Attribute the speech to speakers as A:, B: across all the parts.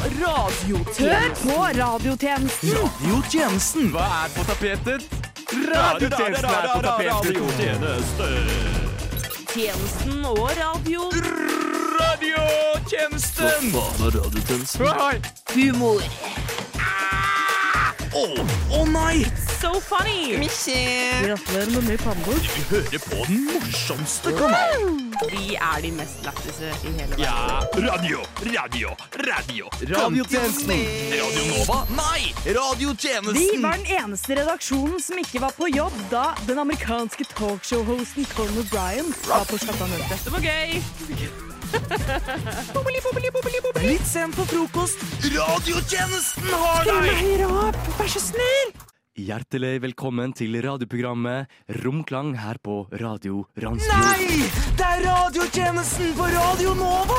A: Hør på radiotjenesten.
B: Radiotjenesten. Hva er på tapetet? Radiotjenesten er på tapetet.
A: Tjenesten og radio.
B: Radiotjenesten! Hva er
A: Humor.
B: Å å nei!
A: So funny. Gratulerer med ny pannebok.
B: Du hører på den morsomste kanalen.
A: Vi er de mest lættiser i hele verden.
B: Ja, radio, radio, radio. Radiotjenesten. Radio Nova? Nei,
C: Vi
B: radiotjenesten.
C: var den eneste redaksjonen som ikke var på jobb da den amerikanske talkshow-hosten Colin O'Brien var på Chattanooga.
A: Det var gøy.
C: Litt sent på frokost.
B: Radiotjenesten har deg!
C: Vær så snill!
D: Hjertelig velkommen til radioprogrammet Romklang her på Radio Randsfjord.
B: Nei! Det er radiotjenesten på Radio Nova!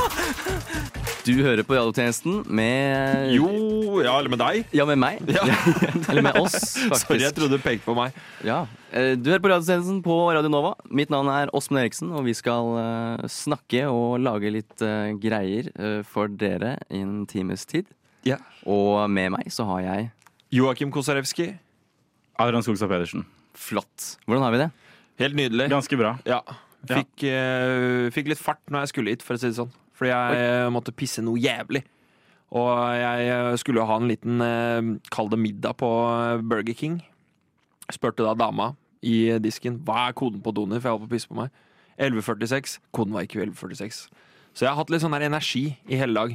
D: Du hører på radiotjenesten med
E: Jo, ja, eller med deg.
D: Ja, med meg.
E: Ja.
D: Eller med oss, faktisk.
E: Sorry, jeg trodde du pekte på meg.
D: Ja. Eh, Du hører på radiotjenesten på Radio Nova. Mitt navn er Åsmund Eriksen, og vi skal eh, snakke og lage litt eh, greier eh, for dere i en times tid.
E: Ja.
D: Og med meg så har jeg
E: Joakim Kosarewski.
F: Adrian Skogstad Pedersen.
D: Flott. Hvordan har vi det?
E: Helt nydelig.
F: Ganske bra.
E: Ja.
F: Ja.
E: Fikk, eh, fikk litt fart når jeg skulle hit, for å si det sånn. Fordi jeg eh, måtte pisse noe jævlig. Og jeg eh, skulle jo ha en liten eh, kall det middag på eh, Burger King. Spurte da dama i disken hva er koden på doner, for jeg holdt på å pisse på meg. 11.46. Koden var ikke 11.46. Så jeg har hatt litt sånn der energi i hele dag.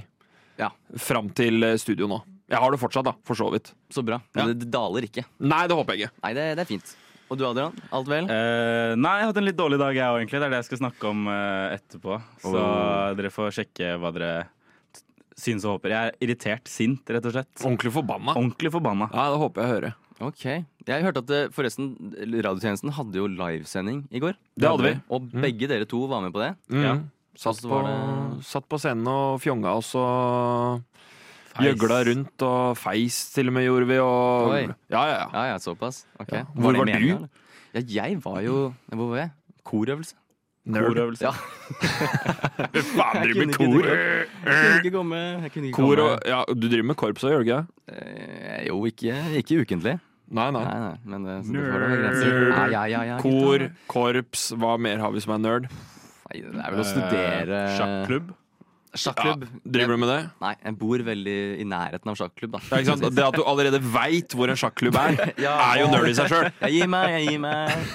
D: Ja.
E: Fram til eh, studio nå. Jeg har det fortsatt, da. For så vidt.
D: Så bra.
E: Ja.
D: Det, det daler ikke.
E: Nei, det håper jeg ikke.
D: Nei, det, det er fint. Og du, Adrian? Alt vel?
F: Eh, nei, jeg har hatt en litt dårlig dag, jeg òg, egentlig. Det er det jeg skal snakke om eh, etterpå. Så
D: Oh.
F: dere får sjekke hva dere t- syns og håper. Jeg er irritert, sint, rett og slett.
E: Ordentlig forbanna.
F: Ordentlig forbanna.
E: Ja, det håper jeg å høre.
D: Ok. Jeg hørte at eh, forresten radiotjenesten hadde jo livesending i går.
E: Det hadde vi. Mm.
D: Og begge dere to var med på det.
E: Ja. Mm.
D: Og
E: Satt
D: så
E: på,
D: var det-
E: satt på scenen og fjonga oss og gjøgla rundt. Og feis til og med gjorde vi. Og,
D: Oi.
E: ja, ja, ja.
D: Ja, ja, såpass. Ok.
E: Ja. Hvor
D: det
E: var
D: meningen,
E: du?
D: eller? Ja, jeg var jo Hvor var jeg? Korøvelse.
E: Nerd.
F: Korøvelse.
D: Ja.
E: Faen, driver med kor!
D: Jeg kunne ikke Jeg kunne ikke komme. Jeg kunne ikke
E: kor
D: komme.
E: og, ja, du driver med korps òg, gjør du ikke? det?
D: Eh, Jo, ikke, ikke ukentlig.
E: Nei, nei.
D: Nei, nei, men det, så det får være grenser. Ja, ja, ja, ja,
E: Kor,
D: gutta.
E: korps, hva mer har vi som er nerd?
D: Nei, det er vel å studere
F: Eh, Sjakklubb.
E: Ja,
D: Sjakklubb.
E: driver du med det?
D: Nei, jeg bor veldig i nærheten av sjakklubb, da.
E: Ja, ikke sant? Det at du allerede veit hvor en sjakklubb er,
D: Ja.
E: er jo nerd i seg sjøl.
D: Jeg gir meg, jeg gir meg.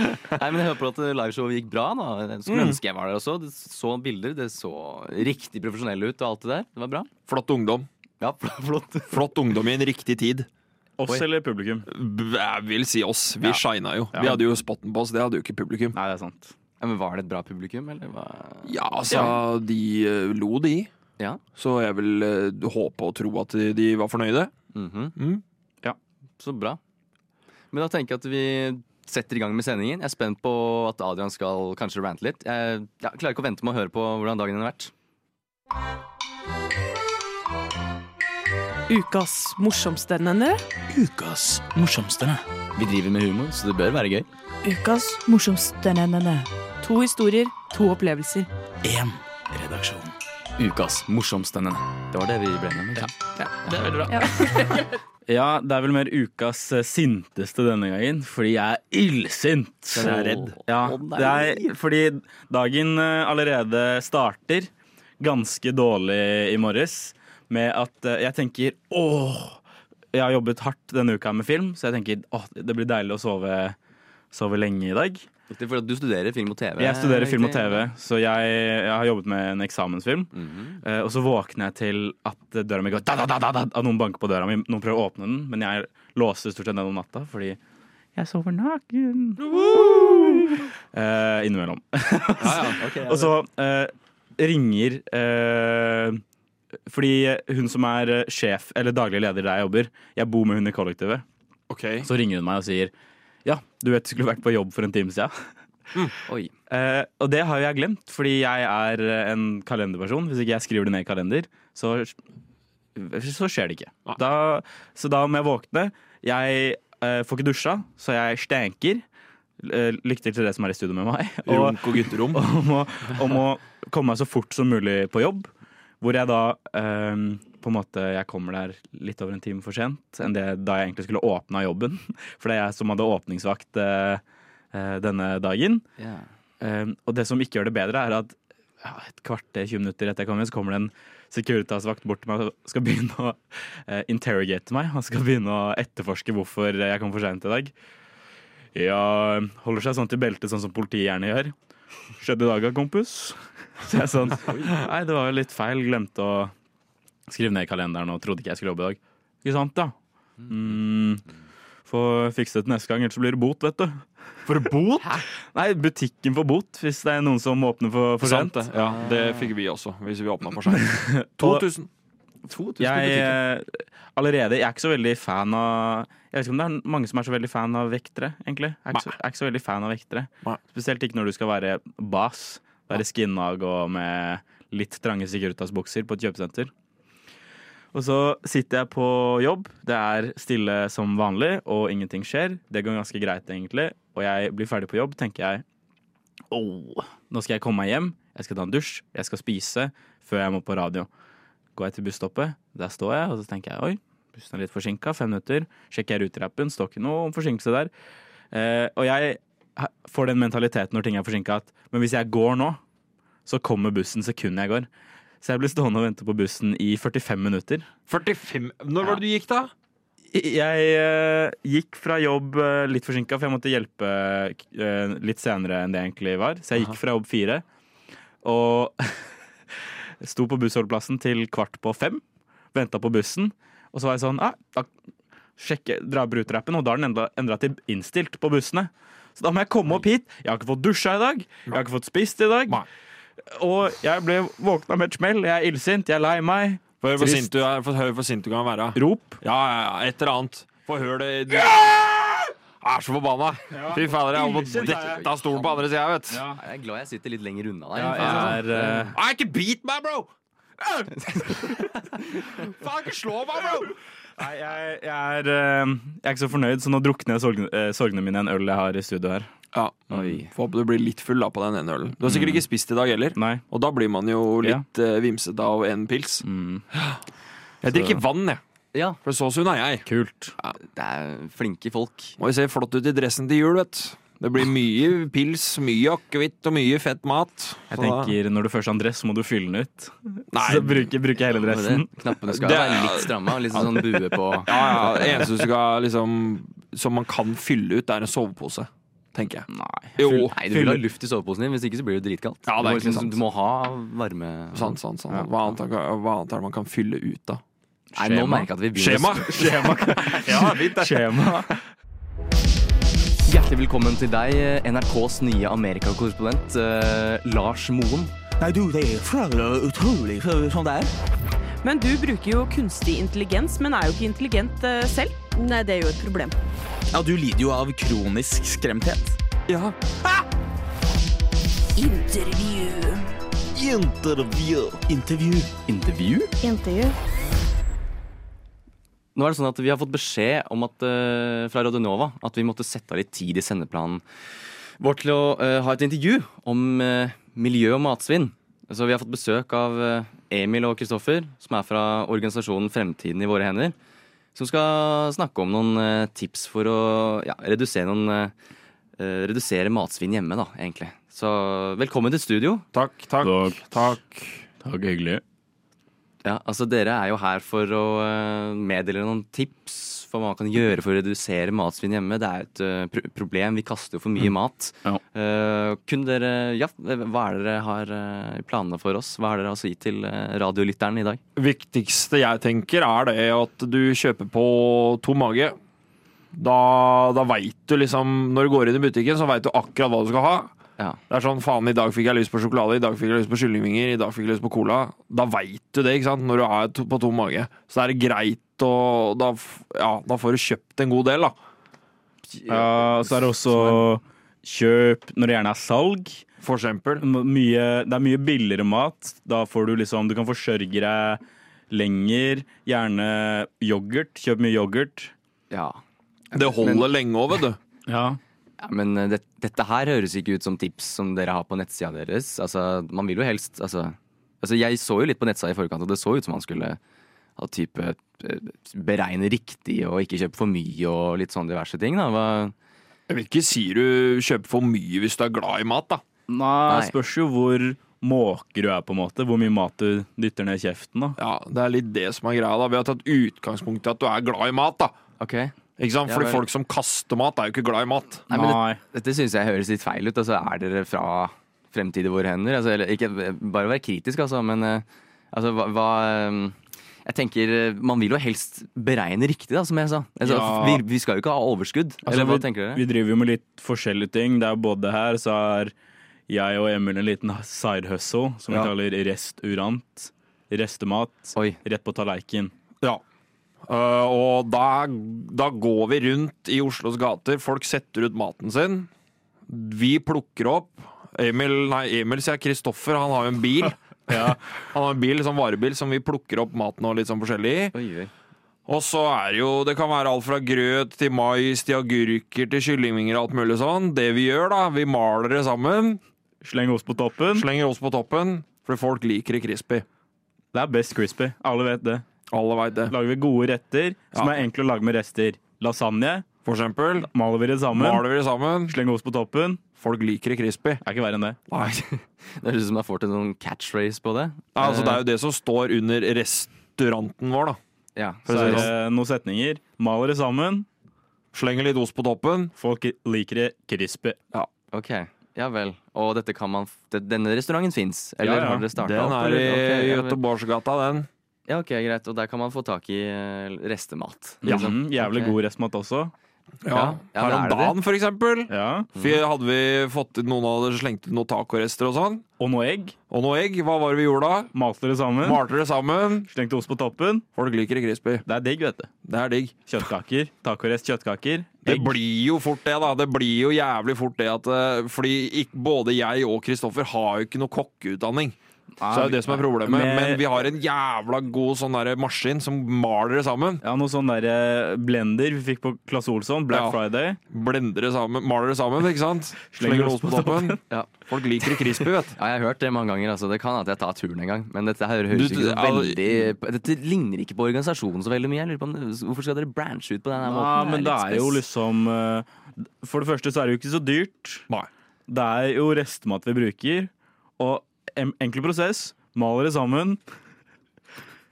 D: Nei, men Jeg håper at liveshowet gikk bra. da Jeg Skulle
E: Mm.
D: ønske jeg var der også. Det så bilder, det så riktig profesjonelle ut. og alt Det der Det var bra.
E: Flott ungdom.
D: Ja, flott
E: Flott ungdom i en riktig tid.
F: Oss eller publikum?
E: B- Jeg vil si oss. Vi shina jo.
F: Ja.
E: Vi hadde jo spotten på oss, det hadde jo ikke publikum.
F: Nei, det er sant.
D: ja, Men Var det et bra publikum, eller? Hva?
E: Ja, altså, de eh, lo, de.
D: Ja.
E: Så jeg vil eh, håpe og tro at de, de var fornøyde.
D: Mhm.
E: Mm.
F: Ja.
D: Så bra. Men da tenker jeg at vi setter i gang med sendingen. Jeg er spent på at Adrian skal kanskje rante litt. Jeg, jeg klarer ikke å vente med å høre på hvordan dagen din har vært.
A: Ukas morsomste, nenne.
B: Ukas morsomste.
D: Vi driver med humor, så det bør være gøy.
A: Ukas morsomste, nenne. To historier, to opplevelser.
B: Én redaksjon.
D: Ukas morsomste. Det var det vi ble med. Ja.
B: Det er veldig bra.
F: Ja, det er vel mer ukas eh, sinteste denne gangen, fordi jeg er illsint. Den
D: er redd.
F: Ja,
D: Å, nei.
F: det er fordi dagen eh, allerede starter ganske dårlig i morges med at eh, jeg tenker åh, jeg har jobbet hardt denne uka med film, så jeg tenker åh, det blir deilig å sove, sove lenge i dag.
D: Riktig, for at du studerer film og TV.
F: Jeg studerer film og
D: riktig?
F: TV, så jeg, jeg har jobbet med en eksamensfilm.
D: Mhm.
F: Eh, og så våkner jeg til at døra mi går da, da, da, da, da, at noen banker på døra mi. Noen prøver å åpne den, men jeg låser stort sett den om natta fordi jeg sover naken. Eh, innimellom.
D: Ok, ja,
F: Og så eh, ringer eh, Fordi hun som er eh, sjef, eller daglig leder der jeg jobber, jeg bor med hun i kollektivet.
E: Ok.
F: Så ringer hun meg og sier Ja, du vet du skulle vært på jobb for en time siden.
D: Oi.
F: Eh, og det har jo jeg glemt, fordi jeg er eh, en kalenderperson. Hvis ikke jeg skriver det ned i kalender, så, så skjer det ikke. Da, så da må jeg våkne. Jeg eh, får ikke dusja, så jeg stenker. Eh, lykke til til dere som er i studio med meg. Og
E: Runk og gutterom.
F: om å, om å komme meg så fort som mulig på jobb. Hvor jeg da eh, på en måte, Jeg kommer der litt over en time for sent enn det da jeg egentlig skulle åpna jobben. For det er jeg som hadde åpningsvakt eh, eh, denne dagen.
D: Ja.
F: Eh, og det som ikke gjør det bedre, er at ja, et kvarter, 20 minutter etter jeg kom inn, så kommer det en Securitas-vakt bort til meg og skal begynne å eh, interrogate meg. Han skal begynne å etterforske hvorfor jeg kom for seint i dag. Ja, holder seg sånn til beltet, sånn som politiet gjerne gjør. Skjedde i dag, da, kompis. Så jeg er sånn Nei, det var jo litt feil. Glemte å skrive ned i kalenderen og trodde ikke jeg skulle jobbe i dag. Ikke sant, da? Mm. Få fikse det til neste gang, ellers så blir det bot, vet du.
E: For bot?
F: Nei, butikken får bot hvis det er noen som åpner for, for
E: Sant
F: sent.
E: det. Ja, det fikk vi også, hvis vi åpna for sent. 2000. 2000
F: Jeg,
E: butikker.
F: eh, allerede, jeg er ikke så veldig fan av Jeg vet ikke om det er mange som er så veldig fan av vektere, egentlig. Jeg er ikke, så, jeg er ikke så veldig fan av vektere.
E: Nei.
F: Spesielt ikke når du skal være bas. Være skinnag og med litt trange Securitas-bukser på et kjøpesenter. Og så sitter jeg på jobb. Det er stille som vanlig, og ingenting skjer. Det går ganske greit, egentlig. Og jeg blir ferdig på jobb, tenker jeg. Åh, nå skal jeg komme meg hjem. Jeg skal ta en dusj. Jeg skal spise før jeg må på radio. Går jeg til busstoppet, der står jeg, og så tenker jeg oi, bussen er litt forsinka, fem minutter. Sjekker jeg ruterappen, står ikke noe om forsinkelse der. Eh, og jeg ha- får den mentaliteten når ting er forsinka at men hvis jeg går nå, så kommer bussen sekundet jeg går. Så jeg blir stående og vente på bussen i 45 minutter.
E: 45 Når var det du gikk, da?
F: Jeg eh, gikk fra jobb eh, litt forsinka, for jeg måtte hjelpe eh, litt senere enn det egentlig var. Så jeg gikk fra jobb fire og sto på bussholdeplassen til kvart på fem. Venta på bussen, og så var jeg sånn ah, da sjekke, Dra opp ruterappen, og da har den enda- endra til innstilt på bussene. Så da må jeg komme opp hit. Jeg har ikke fått dusja i dag. Jeg har ikke fått spist i dag.
E: Nei.
F: Og jeg ble våkna med et smell. Jeg er illsint, jeg er lei meg.
E: For hvor
F: Trist.
E: sint du er, for hør hvor sint du kan være.
F: Rop.
E: Ja, ja, ja, et eller annet. Få hør det du... Jeg er så forbanna! Fy fader, jeg holdt på å dette av stolen på andre sida, vet du.
D: Jeg er glad jeg sitter litt lenger unna deg. Altså,
F: Jeg er, eh,
E: Nei, ikke beat meg, bro! Faen, ikke slå meg, bro!
F: Nei, jeg, jeg, er, eh, jeg er ikke så fornøyd, så nå drukner jeg sorgene, eh, sorgene mine i en øl jeg har i studio her.
E: Ja, Får håpe du blir litt full da på den ene ølen. Du har sikkert
F: Mm.
E: ikke spist i dag heller.
F: Nei.
E: Og da blir man jo litt eh, vimsete av en pils.
F: Mm.
E: Jeg drikker vann, jeg.
D: Ja,
E: For så sunn er jeg.
F: Kult.
D: det er flinke folk.
E: Må jo se flott ut i dressen til jul, vet du. Det blir mye pils, mye akevitt og mye fett mat.
F: Jeg
E: Så
G: Altså-
E: da-
F: tenker, Når du først har en dress, så må du fylle den ut.
E: Nei.
F: Så bruker, bruker jeg hele dressen.
D: Knappene skal
E: Det er-
D: være litt stramme og litt sånn bue på.
E: Ja, ja, det eneste du skal liksom Som man kan fylle ut, det er en sovepose, tenker jeg.
F: Nei.
E: Jo.
D: Nei, du vil ha luft i soveposen din, hvis ikke så blir det dritkaldt.
E: Ja, det er
D: Du må liksom-
E: ikke sant. Sånn
D: Du må ha varme
E: Sant, sant, sant. Hva, annet, hva annet er det man kan fylle ut, da?
D: Nei, nå merker jeg at vi begynner
E: Skjema!
F: Skjema.
D: Hjertelig velkommen til deg, eh, NRKs nye Amerikakorrespondent eh, Lars Moen.
G: Nei, du, det er flaut utrolig eh, sånn det er.
H: Men du bruker jo kunstig intelligens, men er jo ikke intelligent eh, selv. Nei, det er jo et problem.
G: Ja, du lider jo av kronisk skremthet.
E: Ja.
G: Intervju. Intervju.
D: Intervju? Nå er det sånn at Vi har fått beskjed om at, eh, fra Radionova at vi måtte sette av litt tid i sendeplanen vår til å eh, ha et intervju om eh, miljø og matsvinn. Så Vi har fått besøk av eh, Emil og Kristoffer, som er fra organisasjonen Fremtiden i våre hender. Som skal snakke om noen eh, tips for å ja, redusere, noen, eh, eh, redusere matsvinn hjemme. da, egentlig. Så velkommen til studio.
E: Takk, takk,
F: Takk.
E: takk.
F: Takk, hyggelig.
D: Ja, altså Dere er jo her for å eh, meddele noen tips for hva man kan gjøre for å redusere matsvinn hjemme. Det er et eh, pro problem. Vi kaster jo for mye mat.
F: Ja.
D: Eh, kunne dere, ja, Hva er det dere har eh, i planene for oss? Hva er det dere har å gi til eh, radiolytteren i dag?
E: Viktigste jeg tenker, er det at du kjøper på tom mage. Da, da veit du liksom Når du går inn i butikken, så veit du akkurat hva du skal ha.
D: Ja.
E: Det er sånn faen, i dag fikk jeg lyst på sjokolade, i dag fikk jeg lyst på kyllingvinger, i dag fikk jeg lyst på cola. Da veit du det, ikke sant, når du er to- på tom mage. Så det er greit å da, f- ja, da får du kjøpt en god del, da.
F: Ja, og så er det også kjøp når det gjerne er salg.
E: For eksempel.
F: M- Mye, det er mye billigere mat. Da får du liksom Du kan forsørge deg lenger. Gjerne yoghurt. Kjøp mye yoghurt.
D: Ja.
E: Det holder lenge òg, vet du.
F: Ja.
D: Ja, men eh, det, dette her høres ikke ut som tips som dere har på nettsida deres. Altså, man vil jo helst altså, Altså, jeg så jo litt på nettsida i forkant, og det så ut som han skulle ha type eh, beregne riktig og ikke kjøpe for mye og litt sånn diverse ting. Da. Hva,
E: Jeg vil ikke si du kjøper for mye hvis du er glad i mat, da.
F: Nei,
D: Nei.
F: spørs jo hvor måker du er, på en måte. Hvor mye mat du dytter ned i kjeften. da.
E: Ja, Det er litt det som er greia. da. Vi har tatt utgangspunkt i at du er glad i mat. da.
D: ok. Nei,
E: Ikke sant?
D: Ja,
E: Fordi
D: vel.
E: folk som kaster mat, er jo ikke glad i mat.
D: men det,
F: Nei.
D: dette syns jeg høres litt feil ut. Altså, er dere fra fremtiden vår hender? Altså, eller, ikke bare vær kritisk, altså, men eh, altså, hva, hva eh, jeg tenker, eh, Man vil jo helst beregne riktig, da, som jeg sa. Altså,
F: Ja.
D: vi, vi skal jo ikke ha overskudd.
E: Altså,
D: eller hva
F: Altså, vi,
D: tenker dere?
F: Vi driver jo med litt forskjellige ting. Det er både her, så er jeg og Emil en liten side hustle som
E: Ja.
F: vi kaller resturant. Restemat.
D: Oi.
F: Rett på tallerken.
E: Ja. Eh, og da, da går vi rundt i Oslos gater, folk setter ut maten sin. Vi plukker opp. Emil, nei, Emil sier jeg, Kristoffer, han har jo en bil. Han har en bil, sånn varebil som vi plukker opp maten og litt sånn forskjellig i.
D: Oi, oi.
E: Og så er det jo, det kan være alt fra grøt til mais til agurker til kyllingvinger og alt mulig sånn. Det vi gjør da, vi maler det sammen,
F: Sleng ost på toppen.
E: slenger oss på toppen, for folk liker det crispy.
F: Det er best crispy. Alle vet det.
E: Alle vet det.
F: Lager vi gode retter som
E: Ja.
F: er enkle å lage med rester. Lasagne.
E: For eksempel,
F: Maler vi det sammen.
E: maler vi det sammen,
F: Sleng ost på toppen.
E: folk liker det crispy.
F: Er ikke verre enn det.
E: Nei,
D: Det høres ut som jeg får til noen catchphrase på det.
E: Nei, altså det er jo det som står under restauranten vår, da.
D: Eh, Ja,
E: å
F: Så
E: si
F: er
E: det
D: sånn.
E: sånn.
F: det noen setninger. Maler det sammen.
E: Slenger litt ost på toppen.
F: Folk liker det crispy.
D: ok. Ja vel. Og dette kan man f- det- Denne restauranten fins? Eller
F: Ja, ja.
D: har dere starta
E: Den
D: opp?
E: er i
D: eller? Ok, ja vel.
E: Göteborgsgata, den.
D: Ja, ok, greit. Og der kan man få tak i eh, restemat? liksom.
F: Ja. Mhm, jævlig
D: Ok.
F: god restmat også.
E: Ja. Her
D: Ja, men
E: om
D: er det det?
E: dagen, for eksempel.
F: Ja.
E: For hadde vi fått ut noen av dere slengt ut noen tacorester og sånn,
F: Og noe egg.
E: og noe egg, hva var det vi gjorde da?
F: Malte det sammen.
E: Malte det sammen.
F: Slengte ost på toppen.
E: Folk liker det crispy.
F: Det er digg, vet du.
E: Det er digg.
F: Kjøttkaker. Tacorest kjøttkaker.
E: Det blir jo fort det, da. Det blir jo jævlig fort det at eh, Fordi ikk- både jeg og Kristoffer har jo ikke noe kokkeutdanning. Så er jo det som er problemet.
F: Men-
E: Men vi har en jævla god sånn der maskin som maler det sammen.
F: Ja, noe sånn der eh, blender vi fikk på Klasse Olsson. Black
E: Ja.
F: Friday.
E: Blender det sammen, maler det sammen, ikke sant? Slenger ost på toppen.
D: Ja.
E: Folk liker det crispy, vet du.
D: Ja, jeg har hørt det mange ganger. altså. Det kan at jeg tar turen en gang. Men dette her høres
E: Du-
D: ikke så
E: al-
D: veldig Dette ligner ikke på organisasjonen så veldig mye. Jeg lurer på om, Hvorfor skal dere branche ut på
F: Ja,
D: denne måten?
F: Ah, men det er
D: litt
F: jo
D: spes.
F: liksom eh, For det første så er det jo ikke så dyrt.
E: Nei.
F: Det er jo restmat vi bruker. Og en enkel prosess. Maler det sammen.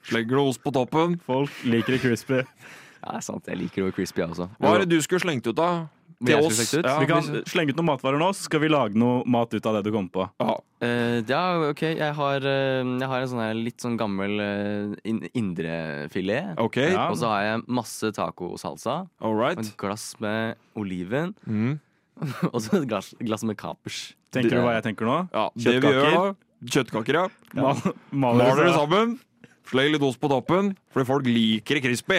E: Slenger du ost på toppen?
F: Folk liker det crispy.
D: Ja, det er sant. Jeg liker jo crispy, jeg også.
E: Hva er det du skulle slengt ut, da?
D: jeg
E: Til
D: skulle
E: oss?
D: slengt ut?
E: Ja,
F: vi kan slenge ut noen matvarer nå, så skal vi lage noe mat ut av det du kommer på.
E: ja.
D: Eh, ja, ok. Jeg har, eh, jeg har en sånn her litt sånn gammel eh, in indrefilet.
E: OK,
F: Ja.
D: Og så har jeg masse tacosalsa.
E: all
D: Og
E: right.
D: et glass med oliven.
E: Mm.
D: Og så et glass, glass med kapers.
F: Tenker du hva jeg tenker nå?
E: Ja, det vi gjør da Kjøttkaker, ja.
F: Ma- Maler
E: Maler
F: det
E: det
F: sammen.
E: sammen. Slenger litt ost på toppen, fordi folk liker det crispy.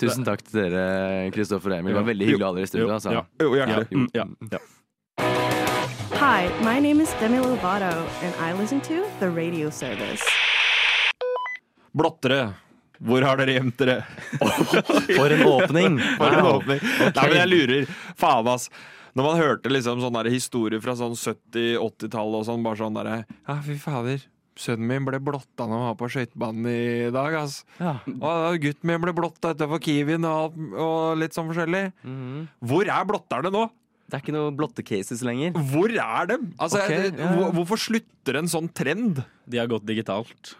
D: Tusen takk til dere, Kristoffer og Emil. Det var veldig hyggelig å ha dere i studio.
F: Jo,
D: Altså.
F: ja.
E: Jo, hjertelig.
F: Mm, ja, ja.
I: Hi, my name is Demi Lovato, and I listen to the radio service.
E: Blottere. Hvor har dere gjemt dere?
D: For en åpning!
E: For en
D: Wow.
E: åpning. Nei, men jeg lurer. Faen, ass. Når man hørte liksom sånne der historier fra sånn 70-, 80-tallet og sånn, bare sånn derre Ja, fy fader. Sønnen min ble blotta når han var på skøytebanen i dag, ass. Og gutten min ble blotta utenfor Kiwien og, alt- og litt sånn forskjellig.
D: Mhm.
E: Hvor er blotterne nå?
D: Det er ikke noe blotte cases lenger.
E: Hvor er dem? Altså,
D: Ok,
E: jeg,
D: ja, ja.
E: hvor- Hvorfor slutter en sånn trend?
F: De har gått digitalt.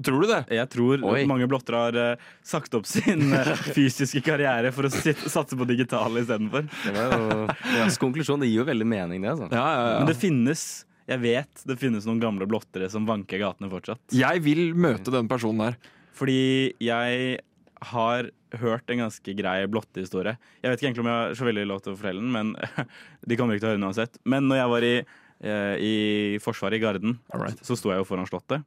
E: Tror du det?
F: Jeg tror
D: Oi.
F: mange blottere har eh, sagt opp sin eh, fysiske karriere for å sit- satse på digitale istedenfor.
D: Det var jo, konklusjon, det gir jo veldig mening, det. Altså.
F: Men det finnes jeg vet det finnes noen gamle blottere som vanker gatene fortsatt.
E: Jeg vil møte den personen her.
F: Fordi jeg har hørt en ganske grei blottehistorie. Jeg vet ikke egentlig om jeg har så veldig lov til å fortelle den, men de kommer ikke til å høre den uansett. Men når jeg var i, eh, i Forsvaret, i Garden, så sto jeg jo foran Slottet.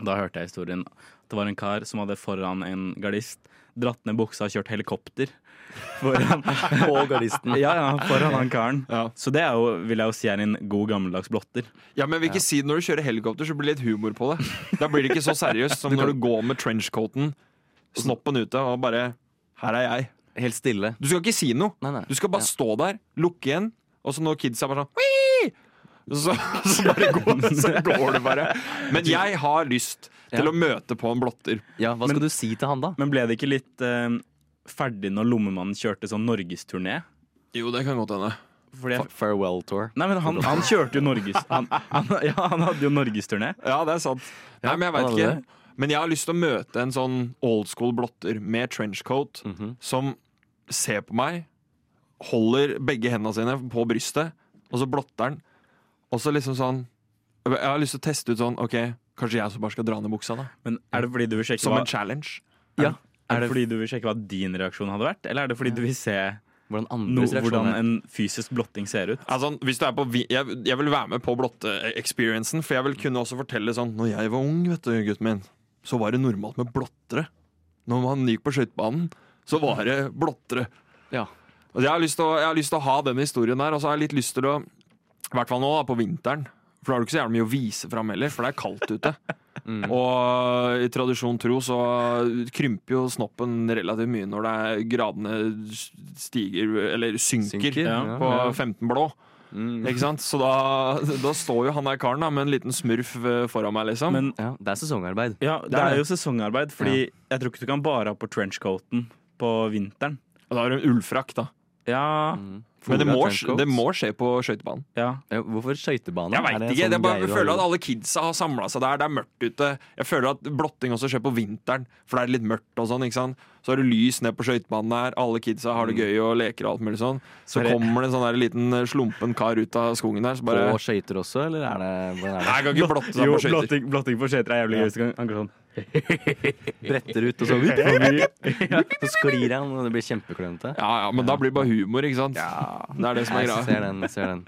F: Da hørte jeg historien. Det var en kar som hadde foran en gardist dratt ned buksa og kjørt helikopter foran,
D: Og gardisten.
F: ja, ja, foran han karen.
E: Ja.
F: Så det er jo, vil jeg jo si er en god gammeldags blotter.
E: Ja, men jeg vil ikke si Når du kjører helikopter, så blir det litt humor på det. Da blir det ikke så seriøst som når du går med trenchcoaten, snoppen ute og bare Her er jeg.
D: Helt stille.
E: Du skal ikke si noe.
D: Nei, nei.
E: Du skal bare
D: Ja.
E: stå der, lukke igjen, og så når kidsa bare sånn «Wii!» Så, så, bare går, så går det bare. Men jeg har lyst til
D: Ja.
E: å møte på en blotter.
D: Ja, Hva skal du si til han, da?
F: Men ble det ikke litt eh, ferdig når Lommemannen kjørte sånn norgesturné?
E: Jo, det kan godt hende.
F: Fordi jeg-
D: Farewell tour.
F: Nei, men han, han kjørte jo Norges... Han, han, ja, han hadde jo norgesturné.
E: Ja, det er sant. Nei, men jeg
D: han
E: vet
D: hadde
E: ikke.
D: det.
E: Men jeg har lyst til å møte en sånn old school blotter med trenchcoat som ser på meg, holder begge hendene sine på brystet, og så blotter han. Og så liksom sånn Jeg har lyst til å teste ut sånn OK, kanskje jeg som bare skal dra ned buksa, da.
F: Men er det fordi du vil sjekke
E: Som
F: hva,
E: en challenge.
F: er det fordi du vil sjekke hva din reaksjon hadde vært? Eller er det fordi du vil se
D: Hvordan
F: no,
D: andres reaksjon
F: hvordan
D: er.
F: en fysisk blotting ser ut?
E: Altså, hvis du er på, vi- jeg, jeg vil være med på blotte-experiencen, for jeg vil kunne også fortelle sånn Når jeg var ung, vet du, gutten min, så var det normalt med blottere. Når man gikk på skøytebanen, så var det blottere.
D: Ja.
E: Og jeg, har lyst til å, jeg har lyst til å ha den historien der, og så har jeg litt lyst til å I hvert fall nå, da, på vinteren. For da har du ikke så jævlig mye å vise fram heller, for det er kaldt ute.
D: Mm.
E: Og eh, i tradisjon tro så krymper jo snoppen relativt mye når det er gradene stiger, eller synker,
D: Synker, ja.
E: på
D: Ja. Mm.
E: 15 blå. Ikke sant? Så da, da står jo han der karen da, med en liten smurf eh, foran meg, liksom.
F: Men
D: Ja, det er sesongarbeid.
F: ja, det er jo sesongarbeid, fordi jeg tror ikke du kan bare ha på trenchcoaten på vinteren.
E: og da har du en ullfrakk, da.
F: Ja,
E: Men det
D: Flora
E: må,
D: trenchcoats.
E: det må skje på skøytebanen.
F: ja.
D: Ja, Hvorfor skøytebane?
E: Jeg
D: Er
E: veit
D: det en
E: ikke. Jeg
D: sånn
E: bare
D: greie du
E: føler
D: har-
E: at alle kidsa har samla seg der. Det er mørkt ute. Jeg føler at blotting også skjer på vinteren, for det er litt mørkt og sånn. ikke sant? Så har du lys ned på skøytebanen der, alle kidsa har det
D: Mm.
E: gøy og leker og alt mulig sånn. Så
F: Er det-
E: kommer det en sånn der liten slumpen kar ut av skogen der, så bare
D: På skøyter også, eller er det,
E: Nei,
D: hvordan er det?
E: jeg kan ikke blotte deg
F: Jo,
E: på skøyter.
F: blotting, blotting på skøyter er jævlig gøy. så kan- Han går sånn
D: bretter ut, og så, vipp, forbi. Ja, så sklir han, og det blir kjempeklønete.
E: Ja, ja, men da blir det bare humor, ikke sant? Det er det som
D: Nei,
E: er
D: jeg
E: greia.
D: ser den. jeg Ser den.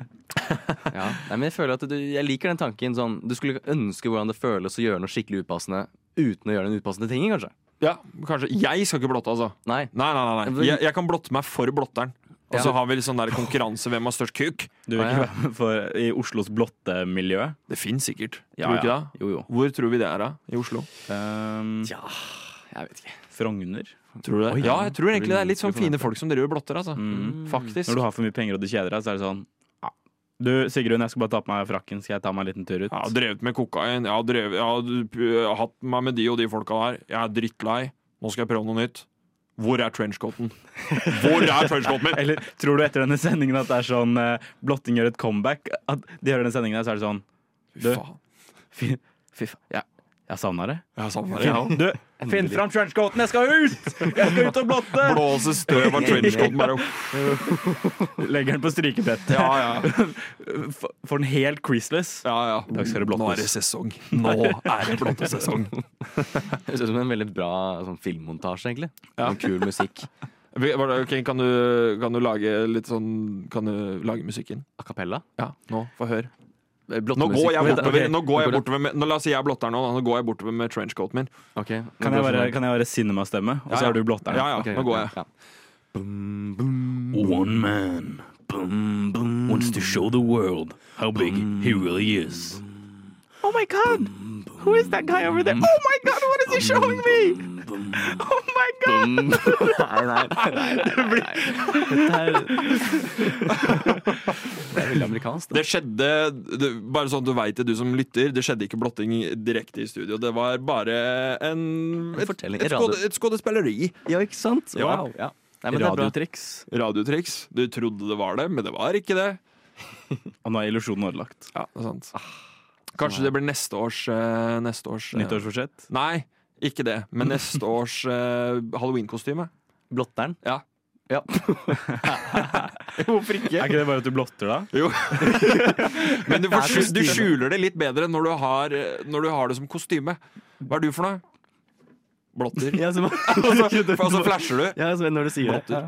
D: Ja. Nei, men jeg føler at du, jeg liker den tanken. Sånn, du skulle ønske hvordan det føles å gjøre noe skikkelig upassende uten å gjøre den upassende tingen, kanskje.
E: Ja, kanskje. Jeg skal ikke blotte, altså.
D: Nei.
E: Nei, nei, nei. nei. Jeg, jeg kan blotte meg for blotteren. Og så
D: Ja.
E: har vi litt sånn der konkurranse hvem har størst kuk.
F: Du vil ikke være med for, i Oslos blottemiljø?
E: Det fins sikkert.
F: Ja,
E: tror du ikke
F: ja.
E: det?
F: Jo, jo.
E: Hvor tror vi det er, da? I Oslo?
F: Um,
D: Jeg vet ikke.
F: Frogner.
E: Tror du det?
F: Oi.
E: ja, jeg tror egentlig det er litt sånn
D: Skulle
E: fine folk som driver og blotter, altså.
F: Mm.
E: Faktisk.
F: Når du har for mye penger og du kjeder deg, så er det sånn ja. Du, Sigrun, jeg skal bare ta på meg frakken. Skal jeg ta meg en liten tur
E: Jeg
F: ut?
E: har drevet med kokain. Jeg har, drevet, jeg har p- hatt meg med de og de folka der. Jeg er drittlei. Nå skal jeg prøve noe nytt. Hvor er trenchcoaten? Hvor er trenchcoaten min?
F: Eller tror du etter denne sendingen at det er sånn eh, blotting gjør et comeback? At de hører denne sendingen, her, så er det sånn
E: Fy
F: Du.
E: faen.
F: Fy, fy faen. Ja, jeg savna det.
E: Jeg savner det, jeg òg.
F: Du, finn fram trenchcoaten! Jeg skal ut! Jeg skal ut og blotte!
E: Blåse støv av trenchcoaten bare
F: Legger den på strykebrettet.
E: Ja, ja.
F: F- Får den helt creaseless.
E: ja, ja.
F: dag skal det blottes.
E: Nå er det sesong. Nå er det blottesesong.
D: Det ser ut som en veldig bra sånn, filmmontasje, egentlig.
E: Ja.
D: Med kul musikk.
E: Vi- var det- Ok, kan du, kan du lage litt sånn Kan du lage musikken?
D: A cappella. Eh,
E: Ja, nå, få høre. Nå
D: Blottemusikk.
E: går jeg
D: Vent,
E: bortover,
D: ok.
E: nå går jeg
D: Nå går
E: bortover med, nå, La oss si jeg er blotter nå, da. Nå går jeg bortover med trenchcoaten min.
D: Ok, nå
F: Kan jeg
D: går
F: være,
D: for meg.
F: kan jeg være cinemastemme, og
E: Ja,
F: så
E: ja.
F: er du blotteren?
E: Ja, ja,
D: Ok,
E: nå går
D: ja,
E: jeg.
D: ja.
B: One man wants to show the world how big he really is.
A: Oh my god! Who is that guy over there? Oh my god, what is he showing me? Oh my god!
D: Det er veldig amerikansk. Da.
E: Det skjedde, det, bare sånn at du vet det, du som lytter, det skjedde ikke blotting direkte i studio. Det var bare en
D: En fortelling.
E: et, et,
D: Radio-
E: skåde, et skådespilleri.
D: Ja, ikke sant?
E: Ja.
D: Wow. Ja. Nei, men det er bra.
F: Radiotriks.
E: Radiotriks. Du trodde det var det, men det var ikke det.
F: Og nå er illusjonen ødelagt.
E: Ja, det er sant. Kanskje det blir neste års, eh, neste års eh,
F: Nyttårsforsett.
E: Nei, ikke det. Men neste års eh, Halloween-kostyme.
D: Blotteren.
E: Ja.
D: Ja.
E: Hvorfor
F: Er
E: ikke?
F: ikke det bare at du blotter, da?
E: Jo. Men du, får, skjul- du skjuler det litt bedre når du, har, eh, når du har det som kostyme. Hva er du for noe? Blotter.
D: Ja, som,
E: Og så,
D: Altså,
E: og så flasher du,
D: ja, som når du sier det.
E: Blotter.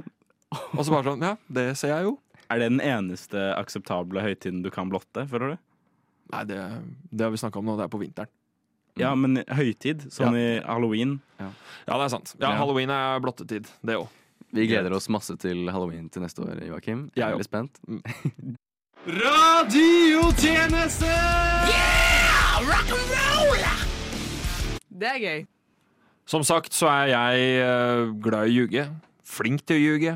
E: og så bare sånn Ja, det ser jeg jo.
F: Er det den eneste akseptable høytiden du kan blotte? føler du?
E: Nei, det, det har vi snakka om nå. Det er på vinteren.
F: Ja, men høytid, sånn i halloween
E: Ja, det er sant. Ja, Halloween er blottetid, det òg.
D: Vi gleder oss masse til halloween til neste år, Joakim. Jeg
E: Jeg
D: er
E: òg.
D: veldig spent.
A: Det er gøy.
E: Som sagt så er jeg eh, glad i å ljuge. Flink til å ljuge.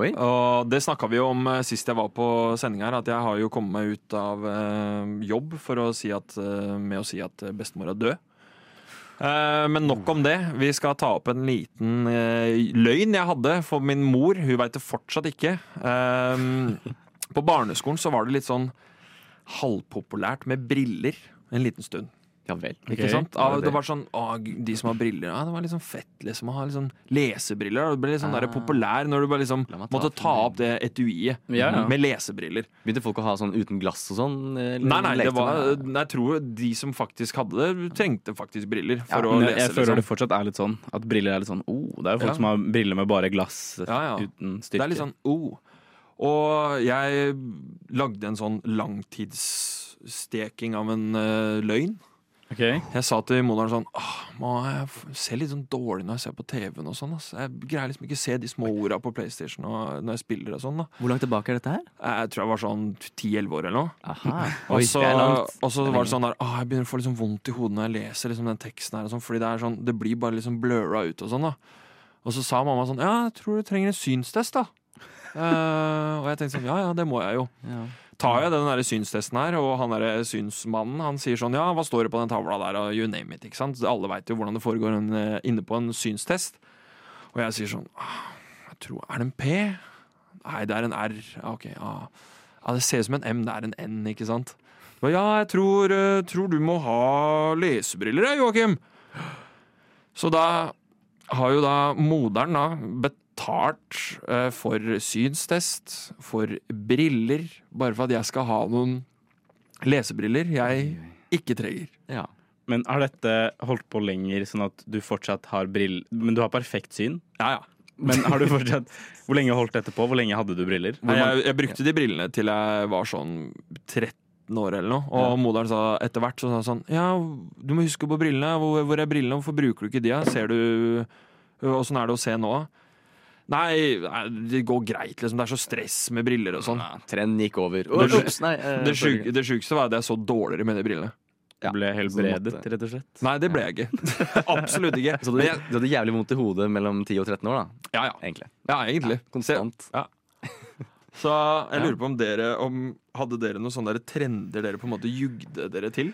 D: Oi.
E: Og det snakka vi jo om eh, sist jeg var på sending her, at jeg har jo kommet meg ut av eh, jobb for å si at, eh, med å si at eh, bestemor er død. Eh, men nok om det. Vi skal ta opp en liten eh, løgn jeg hadde for min mor. Hun veit det fortsatt ikke. Eh, på barneskolen så var det litt sånn halvpopulært med briller en liten stund.
D: Ja vel.
E: Ikke sant?
D: Var
E: Av,
D: det
E: det var sånn, å, g- De som har briller ja, Det var litt sånn fett liksom, å ha litt sånn lesebriller. og Det ble litt sånn der populær når du bare liksom
D: Ah. La meg ta
E: måtte
D: for
E: ta
D: meg.
E: opp det etuiet
D: Ja, ja.
E: med lesebriller.
D: Begynte folk å ha sånn uten glass og sånn? eh,
E: Nei, nei, det
D: lekte
E: var,
D: med-
E: jeg tror de som faktisk hadde det, trengte faktisk briller for å
F: Men
E: lese.
F: jeg føler det
E: liksom.
F: fortsatt er litt sånn at briller er litt sånn oh, Det er jo folk
E: Ja.
F: som har briller med bare glass
E: Ja, ja.
F: uten styrke.
E: det er litt sånn oh. Og jeg lagde en sånn langtidssteking av en eh, løgn.
F: Ok.
E: Jeg sa til moderen sånn Åh, må jeg f- ser litt sånn dårlig når jeg ser på TV-en og sånn. Ass. Jeg greier liksom ikke se de små orda på PlayStation og når jeg spiller og sånn. da
D: Hvor langt tilbake er dette her?
E: Jeg tror jeg var sånn 10-11 år eller noe.
D: Aha.
E: Og
D: Oi,
E: så
D: det er langt.
E: og så
D: Det
E: var
D: er
E: det
D: lenge.
E: sånn der Åh, jeg begynner å få litt sånn vondt i hodet når jeg leser liksom den teksten her og sånn, fordi det er sånn Det blir bare liksom blurra ut og sånn, da. Og så sa mamma sånn Ja, jeg tror du trenger en synstest, da. Eh, og jeg tenkte sånn Ja ja, det må jeg jo.
D: Ja.
E: Tar jeg den der synstesten her, og han der synsmannen han sier sånn Ja, hva står det på den tavla der, og you name it, ikke sant? Alle veit jo hvordan det foregår en, eh, inne på en synstest. Og jeg sier sånn «Ah, jeg tror, Er det en P? Nei, det er en R. Ja, Ok, ja. ja det ser ut som en M, det er en N, ikke sant? Og Ja, jeg tror, eh, tror du må ha lesebriller, jeg, Joakim. Så da har jo da moderen da betalt eh, for synstest, for briller, bare for at jeg skal ha noen lesebriller jeg ikke trenger.
D: Ja.
F: Men har dette holdt på lenger, sånn at du fortsatt har briller Men du har perfekt syn?
E: Ja, ja.
F: Men har du fortsatt Hvor lenge holdt dette på? Hvor lenge hadde du briller? Hvor
E: Nei,
F: mange-
E: jeg, jeg brukte de brillene til jeg var sånn 13 år eller noe. Og moderen sa etter hvert så sa han sånn Ja, du må huske på brillene. Hvor, hvor er brillene? Hvorfor bruker du ikke de? da? Ser du Åssen er det å se nå? Nei, nei, det går greit, liksom. Det er så stress med briller og sånn.
D: Ja, Trenden gikk over.
E: Det sjuk-
D: Ups, nei, eh,
E: Det sjuk- det sjukeste var at jeg så dårligere med de brillene.
F: Du ble helbredet, rett og slett?
E: Nei, det ble jeg ikke. Absolutt ikke.
D: Så du,
E: Men jeg,
D: du hadde jævlig vondt i hodet mellom 10 og 13 år, da?
E: ja, ja.
D: Egentlig.
E: ja, egentlig.
D: Konstant.
E: Så jeg lurer på om dere om, Hadde dere noen sånne der trender dere på en måte jugde dere til?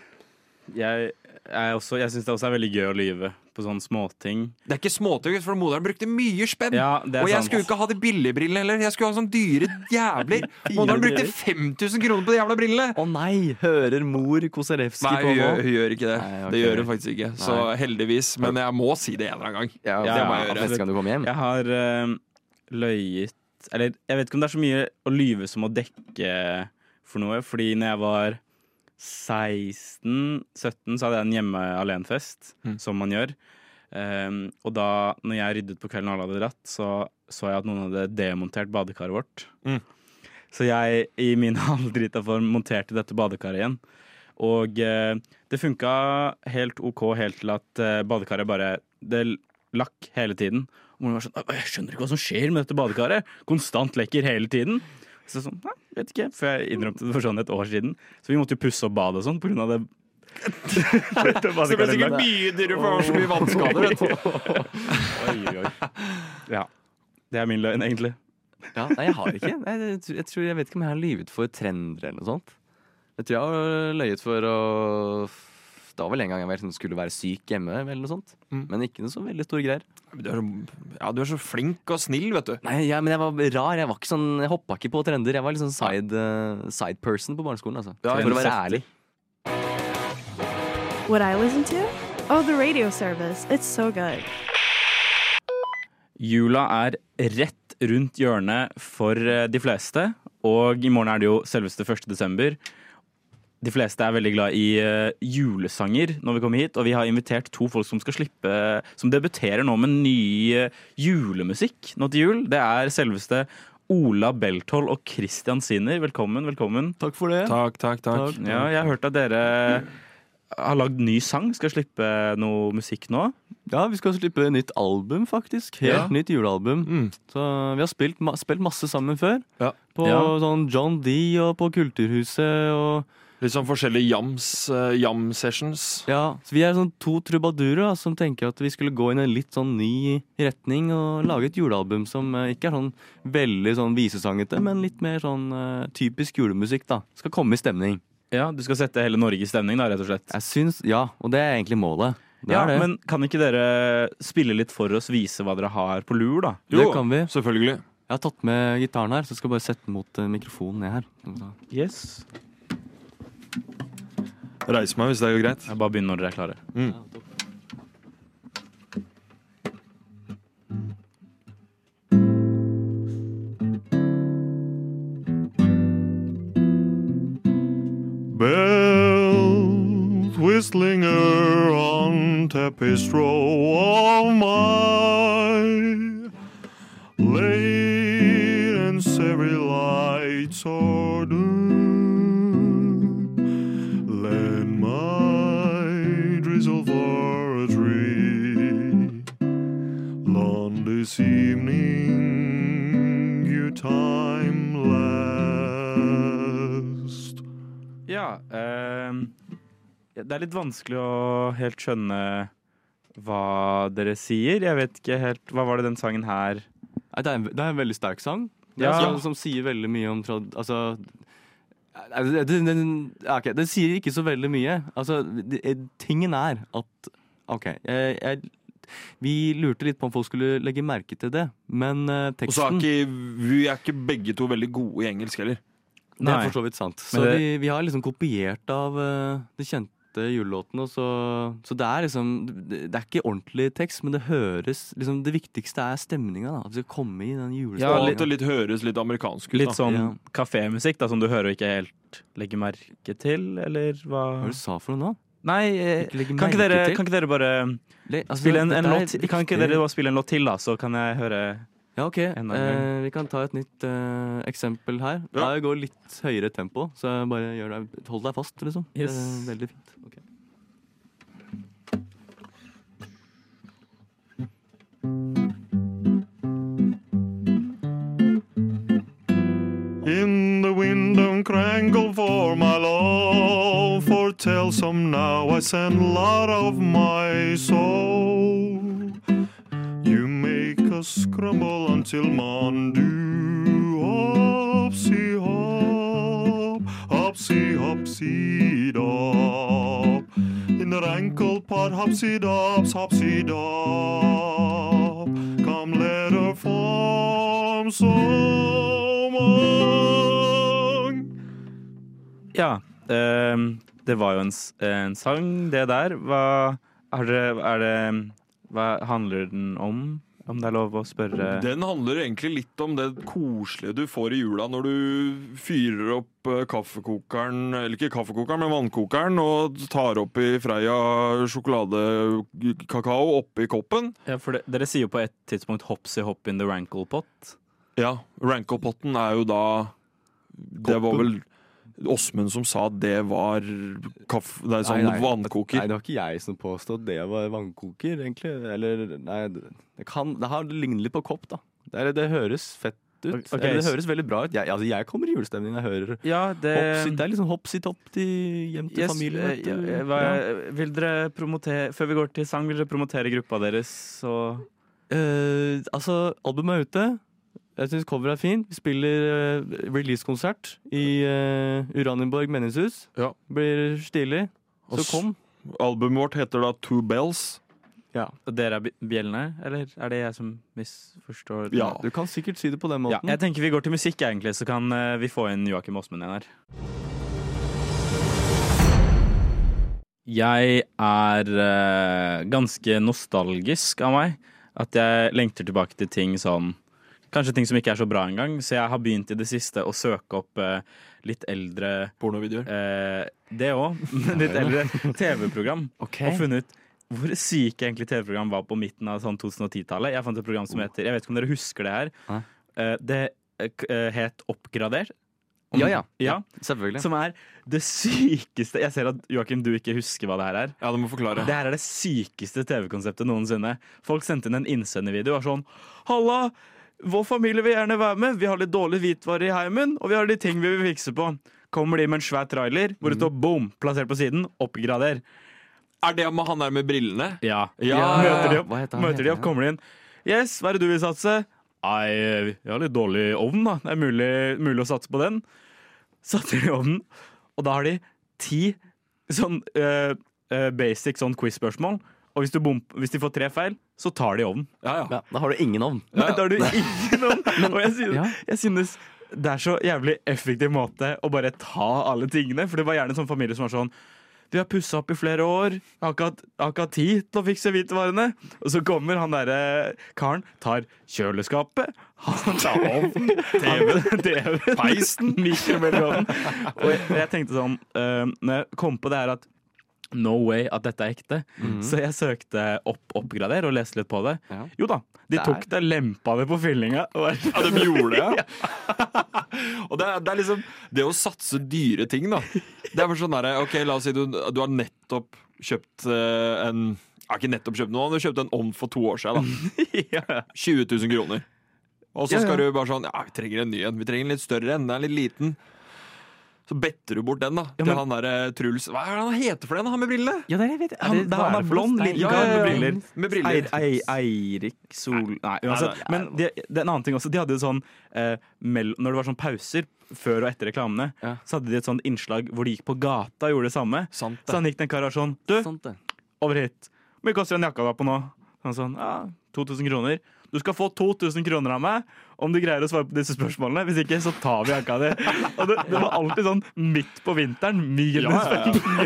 F: Jeg, er også- jeg syns det også er veldig gøy å lyve på sånne småting.
E: Det er ikke småting, for moderen brukte mye spenn.
F: Ja, det er
E: og jeg
F: sant.
E: skulle ikke ha de billige brillene heller. Jeg skulle ha sånne dyre jævler. Moderen brukte 5000 kroner på de jævla brillene!
D: Å nei! Hører mor Kosarewski
E: Nei,
D: på
E: hun gjør,
D: nå?
E: hun gjør ikke det.
D: Nei, ok.
E: Det gjør hun faktisk ikke. Så heldigvis. Men jeg må si det en eller annen gang.
F: Ja,
D: Ja, det må
F: ja,
D: jeg gjøre.
F: absolutt.
D: Neste gang du kommer hjem.
F: Jeg har eh, løyet Eller jeg vet ikke om det er så mye å lyve som å dekke for noe. Fordi når jeg var 16-17, så hadde jeg en hjemme alene-fest, som man gjør. Ehm, og da når jeg ryddet på kvelden og alle hadde dratt, så så jeg at noen hadde demontert badekaret vårt.
E: Mm.
F: Så jeg i min halvdrita form monterte dette badekaret igjen. Og eh, det funka helt OK helt til at eh, badekaret bare Det lakk hele tiden. Og moren var sånn «Å, Jeg skjønner ikke hva som skjer med dette badekaret. Konstant lekker hele tiden. Så jeg sånn, nei, vet ikke, For jeg innrømte det for sånn et år siden. Så vi måtte jo pusse opp badet og sånn pga. det. Dette badekaret lakk.
E: mye dyrere for så mye vannskader. vet du.
F: Oi, oi, oi. Ja. Det er min løgn, egentlig.
D: Ja, nei, jeg har ikke. Nei, Jeg, tror- jeg, tror, jeg vet ikke om jeg har lyvet for trender eller noe sånt. Jeg tror jeg har løyet for å Det var vel en gang jeg var sånn, skulle være syk hjemme, eller noe sånt. Men ikke noe så veldig store greier.
E: Men Du er, så, ja, du er så flink og snill, vet du.
D: Nei, ja, men jeg var rar. Jeg var ikke sånn, jeg hoppa ikke på trender. Jeg var litt sånn side, eh, side person på barneskolen, altså.
E: Ja,
D: for å være
E: trendsetter.
D: ærlig.
I: What I listen to? Oh, the radio service. It's so good.
F: Jula er rett rundt hjørnet for eh, de fleste, og i morgen er det jo selveste 1. desember. De fleste er veldig glad i eh, julesanger når vi kommer hit, og vi har invitert to folk som skal slippe Som debuterer nå med ny eh, julemusikk nå til jul. Det er selveste Ola Beltol og Christian Sinner. Velkommen, velkommen.
D: Takk for det.
E: Takk, takk, takk.
F: Ja, jeg har hørt at dere har lagd ny sang, skal slippe noe musikk nå.
D: Ja, vi skal slippe nytt album, faktisk. Helt
E: Ja.
D: nytt julealbum.
E: Mm.
D: Så vi har spilt, ma spilt masse sammen før.
E: Ja.
D: På
F: Ja.
D: sånn John D og på Kulturhuset og
E: Litt sånn forskjellige jams, eh, jam-sessions.
D: Ja, så Vi er sånn to trubadurer da, som tenker at vi skulle gå inn i en litt sånn ny retning og lage et julealbum som eh, ikke er sånn veldig sånn visesangete, men litt mer sånn eh, typisk julemusikk. da. Skal komme i stemning.
F: Ja, Du skal sette hele Norge i stemning, da, rett og slett.
D: Jeg syns, Ja, og det er egentlig målet. Det
F: Ja,
D: er det.
F: Men kan ikke dere spille litt for oss, vise hva dere har på lur, da?
D: det kan vi.
E: Selvfølgelig.
D: Jeg har tatt med gitaren her, så skal jeg bare sette den mot eh, mikrofonen ned her.
F: Yes.
E: Reis meg hvis det er greit.
F: Jeg bare begynner når dere er klare.
J: Bells whistling her on tapestry of my late and every lights are dim. Let my drizzle for a tree. Long this evening, your time lasts.
F: Ja, ehm, det er litt vanskelig å helt skjønne hva dere sier. Jeg vet ikke helt Hva var det den sangen her
D: Nei, det, er en, det er en veldig sterk sang. Det er
F: Ja.
D: en sang som sier veldig mye om trad... Altså Nei, det- den, den, ja, ok, den sier ikke så veldig mye. Altså, det, eh, tingen er at OK. Jeg, jeg, vi lurte litt på om folk skulle legge merke til det, men eh,
E: Og så er
D: teksten
E: ikke, vi er ikke begge to veldig gode i engelsk heller.
D: Det er
F: Nei.
D: for så vidt sant. Så
F: det-
D: vi, vi har liksom kopiert av eh, de kjente julelåtene. og Så, så det er liksom Det det er ikke ordentlig tekst, men det høres liksom, Det viktigste er stemninga. da, At vi skal komme i den
E: Og
D: julestemninga.
E: at det litt høres litt amerikansk ut.
F: Litt
E: da.
D: Ja.
F: sånn kafémusikk da, som du hører og ikke helt legger merke til, eller
D: Hva
F: hva
D: var det du sa for noe nå?
F: Nei, eh,
D: Ikke legge
F: kan ikke,
D: merke
F: dere,
D: til?
F: kan ikke dere bare
D: Le- altså,
F: spille en,
D: dette
F: en
D: er
F: låt Kan ikke
D: viktig.
F: dere bare spille en låt til, da, så kan jeg høre
D: Ja, ok.
F: annen gang.
D: Eh, vi kan ta et nytt eh, eksempel her. Det
E: Ja.
D: her går litt høyere tempo, så bare gjør deg, hold deg fast, liksom.
F: Yes.
D: Det er veldig fint. Ok.
J: In the window crankle for my love, foretell some now I send lot of my soul. You make us crumble until man do hopsy hop, hopsy hopsy dop. In the rankle pot hopsy dops, hopsy dop. Come let her form so long.
F: Ja, ehm, det var jo en, s- en sang, det der. Hva, er det, er det, hva handler den om? Om det er lov å spørre?
E: Den handler egentlig litt om det koselige du får i jula når du fyrer opp eh, kaffekokeren, eller ikke kaffekokeren, men vannkokeren, og tar opp i Freia sjokoladekakao oppi koppen.
F: Ja, for det, dere sier jo på et tidspunkt 'hopsy hop in the rankle pot'.
E: Ja, Rankopotten er jo da Det var vel Åsmund som sa at det var kaffe... Det er sånn
D: Nei, nei. Nei,
E: vannkoker.
D: det var ikke jeg som påstod det var vannkoker, egentlig. Eller, nei, det, det kan Det har det ligner litt på kopp, da. Det, er, det høres fett ut.
F: Ok, ok,
D: Eller, det
F: s-
D: høres veldig bra ut. Jeg, altså, jeg kommer i julestemning når jeg hører
F: Ja,
D: hopsi, Det er liksom hopsi topp til hjem til
F: eh,
D: familien. vet du. Ja.
F: Vil dere promotere Før vi går til sang, vil dere promotere gruppa deres? Så
D: Eh, altså, albumet er ute. Jeg syns coveret er fint. Vi spiller eh, release-konsert i eh, Uranienborg menighetshus.
E: Ja.
D: Blir stilig. Så
E: Oss-
D: kom.
E: Albumet vårt heter da Two Bells.
F: og dere er bj- bjellene, eller er det jeg som misforstår?
E: Ja.
D: Du kan sikkert si det på den
F: Ja,
D: måten.
F: jeg tenker vi går til musikk, egentlig, så kan eh, vi få inn Joakim Åsmund igjen her. Jeg er eh, ganske nostalgisk av meg. At jeg lengter tilbake til ting som Kanskje ting som ikke er så bra engang. Så jeg har begynt i det siste å søke opp eh, litt eldre
E: Pornovideoer.
F: eh, Det òg, men litt eldre TV-program. Og funnet hvor syke egentlig TV-program var på midten av sånn 2010-tallet. Jeg fant et program som heter Jeg vet ikke om dere husker det her.
D: Nei.
F: Eh, Det eh, k- eh, het Oppgradert.
D: Ja, ja.
F: Ja,
D: Selvfølgelig.
F: Som er det sykeste Jeg ser at Joakim, du ikke husker hva det her er.
E: Ja, du må forklare.
F: Det her er det sykeste TV-konseptet noensinne. Folk sendte inn en innsendervideo og var sånn Halla! Vår familie vil gjerne være med. Vi har litt dårlig hvitvare i heimen, og vi har litt ting vi vil fikse på. kommer de med en svær trailer hvor det står boom, plassert på siden, oppgrader.
E: Er det med han der med brillene?
F: Ja.
E: Ja, ja, ja.
F: Møter de opp,
D: Hva heter han?
F: møter de opp kommer de inn. Yes, hva er det du vil satse? Nei, jeg har litt dårlig ovn, da. Det er mulig, mulig å satse på den. Satser de i ovnen, og da har de ti sånn eh, eh, basic sånn quiz-spørsmål. Og hvis, du bom, hvis de får tre feil, så tar de ovnen.
E: Ja, ja.
D: Ja, da har du ingen ovn.
F: Nei, da har du ingen ovn. Og jeg synes,
D: ja.
F: jeg synes det er så jævlig effektiv måte å bare ta alle tingene. For det var gjerne en sånn familie som var sånn Vi har pussa opp i flere år. Jeg har ikke hatt- jeg har ikke hatt tid til å fikse hvitvarene. Og så kommer han derre karen, tar kjøleskapet, han tar ovnen, TV-en, TV peisen, mikrobølgeovnen. Og jeg, og jeg tenkte sånn eh, Når jeg kom på det her at No way at dette er ekte. Så jeg søkte opp oppgrader og leste litt på det.
D: Ja.
F: Jo da, de
D: Det er-
F: tok det, lempa det på fyllinga. og var-
E: Ja, de gjorde det, ja. Og det, er- det er liksom Det å satse dyre ting, da. Det er bare sånn derre OK, la oss si du, du har nettopp kjøpt eh, en Ja, ikke nettopp kjøpt noe, men du kjøpte en ovn for to år siden, da. 20 000 kroner. Og så skal du bare sånn Ja, vi trenger en ny en. Vi trenger en litt større en. Den er litt liten. Så better du bort den, da. Til han derre Truls Hva er det han heter for den, han med brillene?
D: Ja, det er, jeg vet,
F: Han, det, er- han er blond, liten
E: Ja, ja,
F: kar
E: ja.
F: med briller.
E: Med briller.
F: Eir- Ei- Eirik Sol... Nei, uansett. Men de, det er en annen ting også. De hadde sånn eh, mell- Når det var sånn pauser før og etter reklamene,
D: Ja.
F: så hadde de et sånn innslag hvor de gikk på gata og gjorde det samme.
E: Sant, det.
F: Så han gikk til en kar og var sånn Du,
D: Sant det.
F: over hit. Hvor mye koster den jakka du har på nå? Han sånn, ja, 2000 kroner. Du skal få 2000 kroner av meg om du greier å svare på disse spørsmålene. Hvis ikke, så tar vi jakka di. Og det, det var alltid sånn midt på vinteren. Minus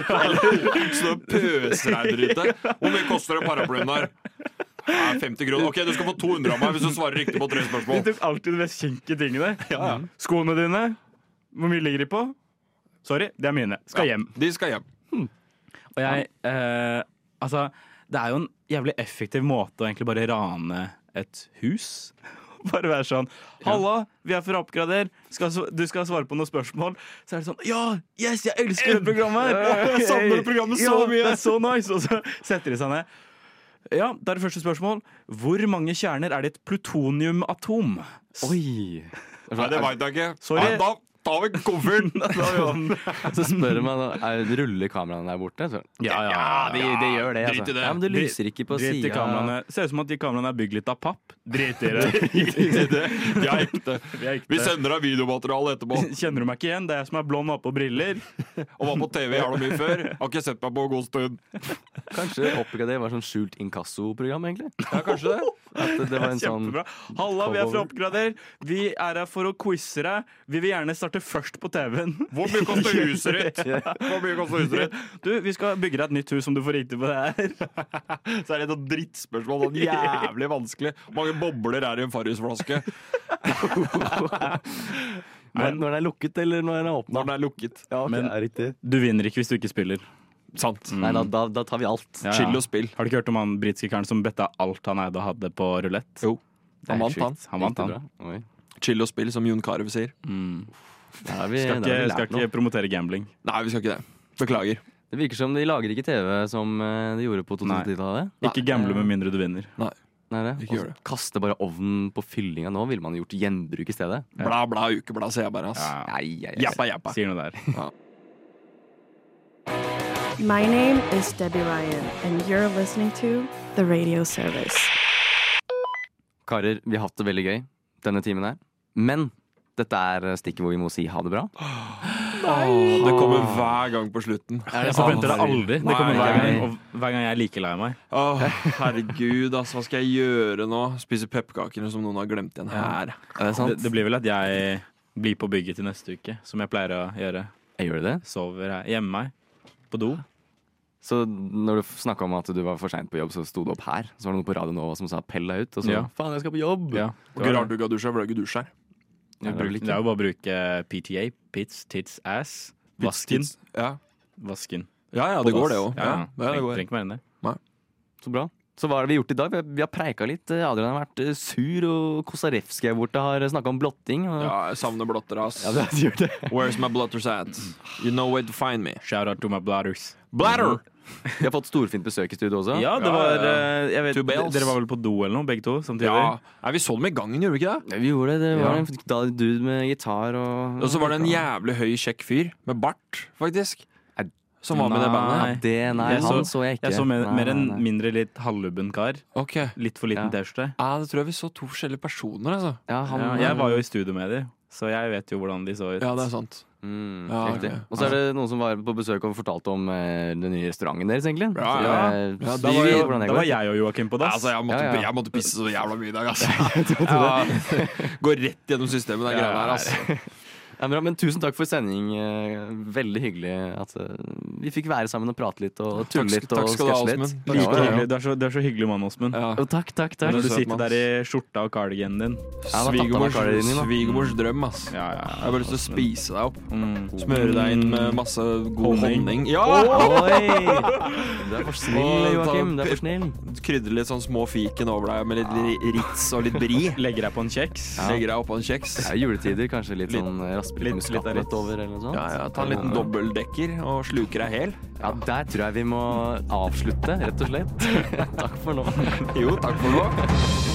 E: Så det pøsregner ute. Hvor mye koster en paraplyen der? Ja, 50 kroner. Ok, du skal få 200 av meg hvis du svarer riktig på tre
F: De
E: spørsmål.
F: tok alltid de mest kinky tingene. Skoene dine, hvor mye ligger de på? Sorry, det er mine. Skal hjem.
E: De skal hjem.
F: Og jeg eh, Altså, det er jo en jævlig effektiv måte å egentlig bare rane et hus. Bare være sånn 'Halla, vi er for oppgrader. Skal, sv- du skal svare på noen spørsmål.' Så er det sånn 'Ja, yes, jeg elsker dette programmet! her Jeg savner det programmet så mye!' Det er så nice! Og så setter de seg ned. Ja, da er det første spørsmål. Hvor mange kjerner er det i et plutoniumatom?
D: Oi.
E: Nei, det veit jeg ikke.
F: Sorry.
E: Nei, da tar vi kofferten.
D: Så spør jeg meg da, er- ruller kameraene der borte. Så.
F: Ja, ja,
D: de, de gjør det. altså.
E: Drit i det.
D: Ja, men det lyser ikke på
F: Drit i
D: sida.
F: kameraene. Ser ut som at de kameraene er bygd litt av papp. Drit i det.
E: De er ekte.
F: Vi er ekte.
E: Vi sender deg videomateriale etterpå.
F: Kjenner du meg ikke igjen? Det er jeg som er blond og har på briller.
E: Og var på TV jævla mye før. Har ikke sett meg på en god stund.
D: Kanskje Oppgrader var sånn skjult inkassoprogram, egentlig.
E: Ja, kanskje det.
D: At det var en sånn
F: Kjempebra. Halla, vi er fra Oppgrader. Vi er her for å quize deg. Vi vil gjerne starte først på TV-en.
E: Hvor mye koster huset ditt? Hvor mye koster huset ditt?
F: Du, vi skal bygge deg et nytt hus om du får riktig på det her.
E: Så er det et drittspørsmål. Sånn jævlig vanskelig. Hvor mange bobler er i en Farris-flaske
D: Men når den er lukket, eller når den er åpna?
E: når den er lukket?
D: Ja, ok,
F: Men-
D: er riktig.
F: Du vinner ikke hvis du ikke spiller.
E: Sant.
D: Nei, da, da, da tar vi alt.
E: Chill og spill.
F: Har du ikke hørt om han britiske karen som betta alt han eide og hadde på rulett?
E: Jo.
F: Det er
E: Han
F: helt
E: vant, han.
F: sjukt. Han vant, han.
D: Bra. Oi.
E: Chill og spill, som Jon Carew sier.
D: Der har vi,
F: Skal ikke,
D: der har vi
F: skal
D: lært noe.
F: ikke promotere gambling.
E: Nei, vi skal ikke det. Beklager.
D: Det virker som de lager ikke TV som eh, de gjorde på 2010-tallet.
F: Ikke gamble med mindre du vinner.
D: Nei, det.
E: Ikke
D: Og så
E: gjør det.
D: Kaste bare ovnen på fyllinga nå, ville man gjort gjenbruk i stedet.
E: Bla, bla, ukeblad, sier jeg bare. ass.
F: Ja,
D: Nei, jeg, jeg,
E: Jappa, jappa.
F: sier noe der.
I: My name is Debbie Ryan, and you're listening to The Radio Service.
D: Karer, vi har hatt det veldig gøy denne timen her. Men dette er eh, stikket hvor vi må si ha det bra.
E: Det kommer hver gang på slutten.
F: Jeg forventer det aldri. Det kommer hver
D: Nei.
F: gang, og hver gang jeg er like lei meg.
E: Åh, herregud, ass. Hva skal jeg gjøre nå? Spise pepperkaker som noen har glemt igjen her.
D: Er det
F: Det,
D: sant?
F: det blir vel at jeg blir på bygget til neste uke, som jeg pleier å gjøre.
D: Jeg gjør det.
F: Sover her hjemme meg. På do.
D: Så når du snakka om at du var for seint på jobb, så sto du opp her. Så var det noe på Radio Nova som sa 'pell deg ut', og så
F: Ja.
D: 'faen, jeg skal på jobb'.
F: Ja.
E: Ikke rart du ikke har dusja, for det er jo ikke dusj her.
D: Ja, det er vel
F: Det
D: ikke.
F: er jo bare å bruke PTA. Pits, tits, ass. Vasken.
E: Ja.
F: Vasken.
E: ja, ja, det går, det òg.
F: Ja,
E: Ja,
F: ja.
E: ja, det
F: Trenger
E: går.
F: trenger ikke mer enn det.
D: Så bra. Så hva har vi gjort i dag? Vi har, vi har preika litt. Adrian har vært eh, sur, og Kosarewski her borte har snakka om blotting. Og...
E: Ja, jeg savner blotter, ass.
D: Ja, det har gjort det.
E: Where's my blotters at? You know where to find me.
F: Shout out to my bladders.
E: Bladder!
D: Vi har fått storfint besøk i studio også.
F: Ja, det var
E: ja,
F: eh, jeg vet,
E: Two bells.
F: Dere var vel på do eller noe, begge to? samtidig?
E: Mm, Ja, Nei, Vi så dem i gangen, gjorde vi ikke det?
D: Vi gjorde det. Det var
E: Ja.
D: en da, dude med gitar og
E: Og så var det en jævlig høy, kjekk fyr med bart, faktisk.
D: Er-
E: Som var med i det
D: Nei,
E: bandet.
D: det, nei
F: Jeg
D: han
F: så-
D: så jeg ikke.
F: Jeg så mer,
D: Nei,
F: mer en
D: nei, nei.
F: mindre litt halvlubben kar.
E: Ok.
F: Litt for liten
D: Ja.
F: T-skjorte.
E: Ja, det tror jeg vi så to forskjellige personer, altså.
D: ja, han,
F: Ja, jeg var jo i studio med dem, så jeg vet jo hvordan de så ut.
E: Ja, det er sant.
D: mm,
E: Ja,
D: riktig.
E: ok.
D: Og så er det noen som var på besøk og fortalte om eh, den nye restauranten deres, egentlig.
E: Ja,
D: Så
E: ja.
D: jeg-
E: Ja, da
D: de
E: var
D: vet
E: jo-
D: hvordan det
F: Da var
D: går.
F: jeg og Joakim på dass.
E: Altså, jeg måtte,
D: Ja, ja.
E: jeg måtte pisse så jævla mye i dag, altså. Ja, går rett gjennom systemet, den
D: Ja,
E: greia der,
D: ja,
E: altså.
D: Ja, men, men tusen takk for sending. eh, Veldig hyggelig at eh, vi fikk være sammen og prate litt og tulle
E: skal-
D: litt
E: takk
D: og
E: skal du ha,
D: sketsje litt.
E: Åsmund.
D: Ja,
F: Like
D: ja, ja.
F: hyggelig. Du, er så, du er så hyggelig mann, Åsmund.
E: Ja.
D: Jo, takk, takk, takk.
E: er
F: Når du
E: søt,
F: sitter
E: mann.
F: der i skjorta og cardiganen din.
D: Ja, det var tatt av meg
E: Svigermors
D: karrieren din, da.
E: svigermors drøm, ass. Jeg
F: Ja, ja.
E: har bare lyst til å spise deg opp.
F: Mm.
E: Smøre deg inn med masse god
F: Honning.
E: honning. Ja!
D: Oi! Du er for snill,
E: Å,
D: Joakim.
E: takk.
D: Du er for snill.
E: Krydre litt sånn små fiken over deg med litt ri- rits og litt bri.
F: Legger deg på en kjeks.
E: Legger deg oppå en kjeks.
D: Ja, juletider, kanskje litt
E: Litt-
D: sånn raspe
F: litt- litt
D: litt
F: av
D: muskatene
F: litt.
D: over, eller noe sånt.
E: Ja, ja, ta en liten dobbeldekker og sluker deg hel.
D: Ja, der tror jeg vi må avslutte, rett og slett. Takk for nå.
E: Jo, takk for nå.